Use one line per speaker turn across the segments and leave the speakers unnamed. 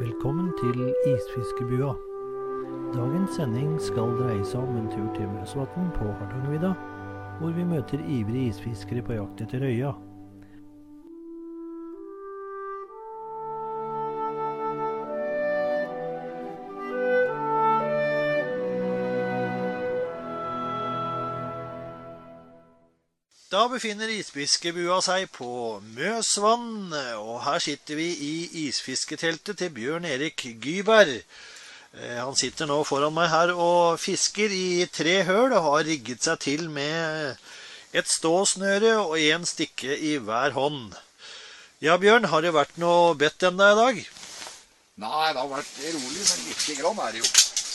Velkommen til Isfiskebua. Dagens sending skal dreie seg om en tur til Mjøsvatn på Hardangervidda, hvor vi møter ivrige isfiskere på jakt etter røya. Da befinner isfiskebua seg på Mjøsvann, og her sitter vi i isfisketeltet til Bjørn Erik Gyberg. Eh, Han sitter nå foran meg her og fisker i tre høl og har rigget seg til med et ståsnøre og én stikke i hver hånd. Ja, Bjørn, har det vært noe bedt ennå i dag?
Nei, det har vært rolig, men lite grann er det jo.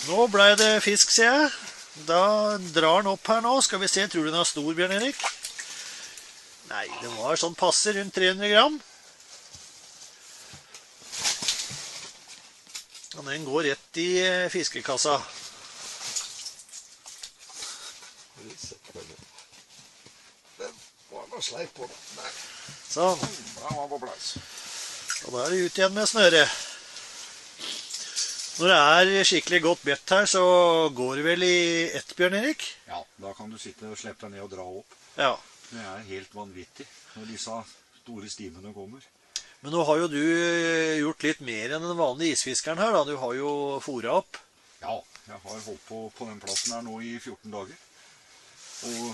Nå blei det fisk, ser jeg. Da drar den opp her nå. Skal vi se, tror du den er stor, Bjørn Erik? Nei, den var sånn passe, rundt 300 gram. Og den går rett i eh, fiskekassa.
Den var noe sleip på den. Nei,
Sånn.
den var på plass.
Og da er det ut igjen med snøret. Når det er skikkelig godt bedt her, så går det vel i ett, Bjørn Erik?
Ja, da kan du sitte og slippe deg ned og dra opp.
Ja.
Det er helt vanvittig når disse store stimene kommer.
Men nå har jo du eh, gjort litt mer enn den vanlige isfiskeren her, da. Du har jo fôra opp.
Ja, jeg har holdt på på den plassen her nå i 14 dager. Og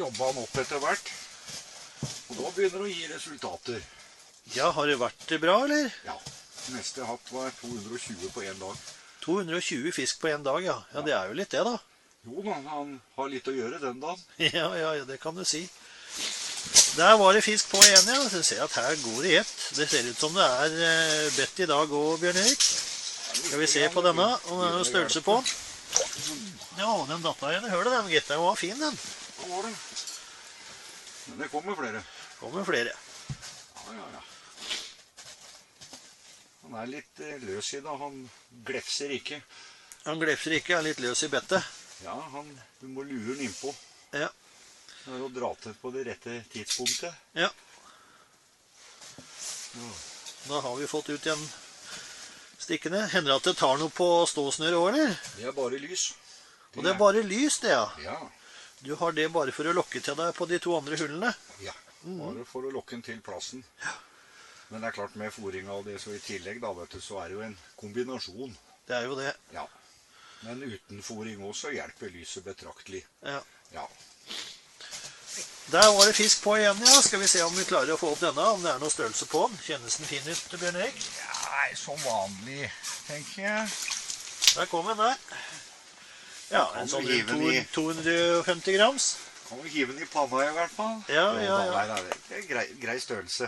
jobba den opp etter hvert. Og da begynner det å gi resultater.
Ja, har det vært bra, eller?
Ja. Det meste jeg har hatt, var 220 på én dag.
220 fisk på én dag, ja. Ja, det er jo litt det, da.
Jo da, han har litt å gjøre den dagen.
Ja, ja, ja, det kan du si. Der var det fisk på igjen, ja. Du ser at her går det i ett. Det ser ut som det er eh, bedt i dag òg, Bjørn Erik. Skal vi se på denne, om det er noe størrelse på den. Ja, den datt av igjen i hølet, den, gitt. Den var fin, den.
Nå var det. Men det kommer flere.
Kommer flere.
Ja, ja, ja. Han er litt eh, løs i det. Han glefser ikke.
Han glefser ikke, er litt løs i bettet.
Ja, han, Du må lure han innpå.
Ja.
Det er å dra til på det rette tidspunktet.
Ja. Da har vi fått ut igjen stikkene. Hender det at det tar noe på ståsnøret òg, eller?
Det er bare lys.
Og det er bare lys, det, ja.
Ja.
Du har det bare for å lokke til deg på de to andre hullene.
ja.
Mm.
Bare for å lokke han til plassen. Men det er klart, med fôringa og det så i tillegg, da, vet du, så er det jo en kombinasjon.
Det er jo det.
Ja. Men uten fôring også hjelper lyset betraktelig.
Ja.
Ja.
Der var det fisk på igjen, ja. Skal vi se om vi klarer å få opp denne, om det er noe størrelse på den. Kjennes den fin ut, Bjørn Erik?
Nei, som vanlig, tenker jeg.
Der kom den der. Ja,
Da kan
en
du
sånn
hive den i.
rundt 250 grams.
Kan vi hive den i panna i hvert fall.
Ja, ja, ja.
Nei, nei, det er grei, grei størrelse.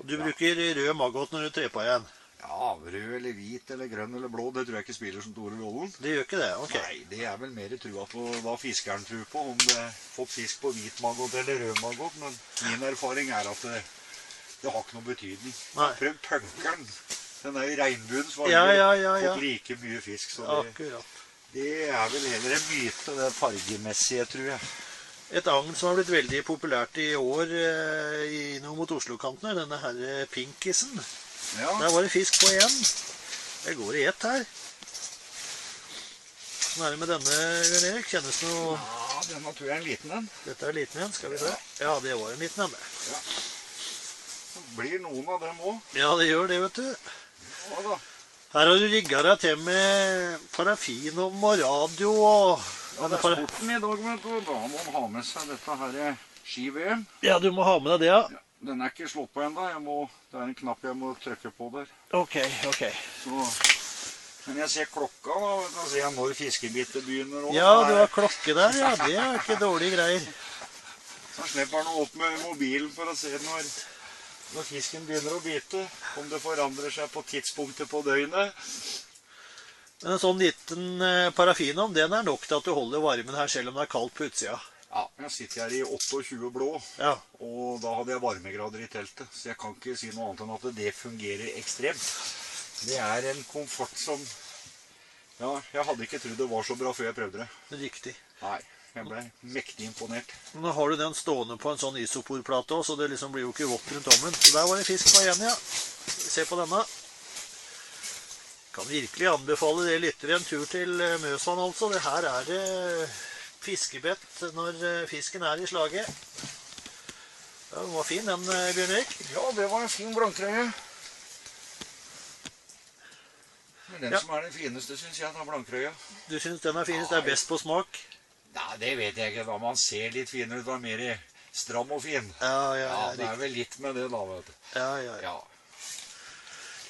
Og du bruker rød maggot når du trer på igjen.
Ja, Rød eller hvit eller grønn eller blå, det tror jeg ikke spiller som store rollen.
Det gjør ikke det. Ok.
Nei, det er vel mer trua på hva fiskeren tror på, om det er fått fisk på hvit maggot eller rød maggot. Men min erfaring er at det, det har ikke noe betydning.
Nei.
Prøv punkeren. Den er i regnbuens farge.
Ja, ja, ja, ja.
Fått like mye fisk, så det,
Akkurat.
det er vel heller en myte, det fargemessige, tror jeg.
Et agn som har blitt veldig populært i år eh, i- noe mot Oslo-kantene, er denne herre pinkisen.
Ja.
Der var det fisk på igjen. Det går i ett her. Hvordan er det med denne, Bjørn Erik? Kjennes noe
ja, denne tror jeg er en liten en.
Dette er en liten en, skal vi se. Ja, det var en liten en. det.
Det blir noen av dem òg.
Ja, det gjør det, vet du.
Ja da.
Her har du rigga deg til med parafin og radio og
Ja, det er sporten i dag, vet du. og Da må man ha med seg dette her eh, ski-VM.
Ja, du må ha med deg det, ja.
Den er ikke slått på ennå. Jeg må- Det er en knapp jeg må trykke på der.
Ok, ok.
Så. Men jeg ser klokka, da. vet du, Da ser jeg når fiskebitet begynner. og
Ja,
da
du
er-
har klokke der, ja. Det er ikke dårlige greier.
Da slipper han opp med mobilen for å se når, når fisken begynner å bite. Om det forandrer seg på tidspunktet på døgnet.
Men en sånn liten eh, parafinovn, den er nok til at du holder varmen her selv om det er kaldt på utsida.
Ja, Jeg sitter her i 28 blå.
Ja,
Og da hadde jeg varmegrader i teltet, så jeg kan ikke si noe annet enn at det fungerer ekstremt. Det er en komfort som Ja, jeg hadde ikke trodd det var så bra før jeg prøvde det.
riktig.
Nei. Jeg ble mektig imponert.
Nå har du den stående på en sånn isoporplate også, så det liksom blir jo ikke vått rundt ommen. Så der var det fisk på igjen, ja. Skal vi Se på denne. Kan virkelig anbefale det lyttere en tur til eh, Møsvann, altså. Det her er det fiskebett når eh, fisken er i slaget. Ja, den var fin, den, eh, Bjørn Erik.
Ja, det var en fin blankreie. Men den
Ja.
som er den fineste, syns jeg, da, blankreia.
Du syns den er finest? Det er best på smak?
Nei, det vet jeg ikke. Da man ser litt finere ut, da er mer stram og fin.
Ja, ja,
Ja, det
ja.
er vel litt med det, da, vet du.
ja, ja, ja.
Ja.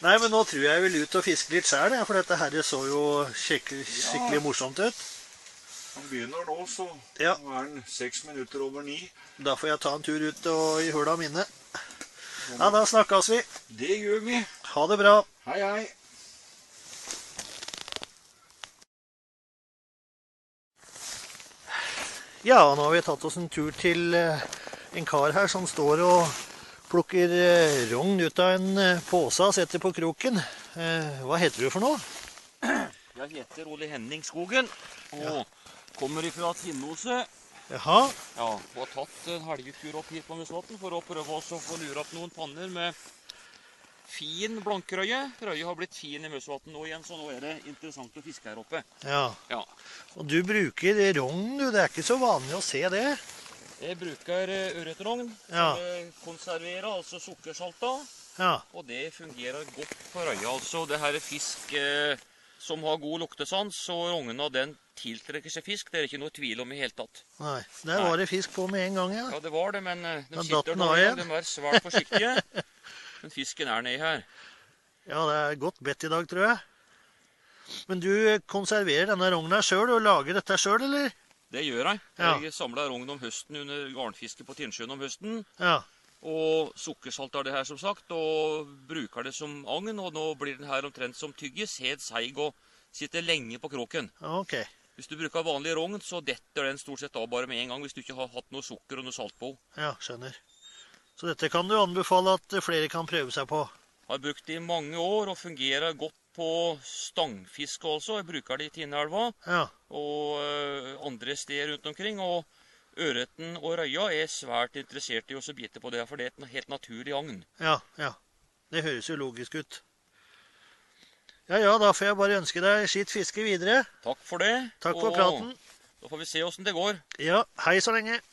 Nei, men nå tror jeg jeg vil ut og fiske litt sjøl, for dette her så jo skikkelig, skikkelig morsomt ut.
Han begynner nå, så
Ja.
nå er den seks minutter over ni.
Da får jeg ta en tur ut og i hula mine. Ja, da snakkes vi.
Det gjør vi.
Ha det bra.
Hei, hei.
Ja, nå har vi tatt oss en tur til eh, en kar her som står og plukker eh, rogn ut av en eh, pose og setter på kroken. Eh, Hva heter du for noe?
Jeg heter Ole Henning Skogen og kommer ifra Tinnose.
Jaha.
Ja, og har tatt en helgetur opp hit på Musvatn for å prøve oss å få lure opp noen panner med fin blankrøye. Røye har blitt fin i Musvatn nå igjen, så nå er det interessant å fiske her oppe.
Ja.
Ja.
Og du bruker rogn, du. Det er ikke så vanlig å se det.
Jeg bruker eh, ørretrogn.
Ja.
eh, Konserverer, altså sukkersalta.
Ja.
Og det fungerer godt på røya, altså. Det her er fisk eh, som har god luktesans, og rognen av den tiltrekker seg fisk. Det er det ikke noe tvil om i hele tatt.
Nei. Der var det fisk på med en gang, ja.
Ja, det var det, men eh,
Da
de
datt
sitter
den
nå
av
igjen.
igjen.
De er svært forsiktige. Men fisken er nedi her.
Ja, det er godt bedt i dag, tror jeg. Men du konserverer denne rogna sjøl og lager dette sjøl, eller?
Det gjør jeg.
Ja.
Jeg samla rogn om høsten under garnfiske på Tinnsjøen om høsten.
Ja.
Og sukkersalt er det her, som sagt, og bruker det som agn. Og nå blir den her omtrent som tyggis, helt seig og sitter lenge på kråken.
Ok.
Hvis du bruker vanlig rogn, så detter den stort sett av bare med en gang hvis du ikke har hatt noe sukker og noe salt på.
Ja, skjønner. Så dette kan du anbefale at flere kan prøve seg på.
Har brukt det i mange år og fungerer godt på stangfiske også. Jeg bruker det i Tinneelva.
Ja.
og eh, andre steder rundt omkring. Og ørreten og røya er svært interessert i å så bite på det, her, for det er et helt naturlig agn.
Ja, ja. Det høres jo logisk ut. Ja ja, da får jeg bare ønske deg skitt fiske videre.
Takk for det.
Takk for
og
praten.
Da får vi se åssen det går.
Ja, hei så lenge.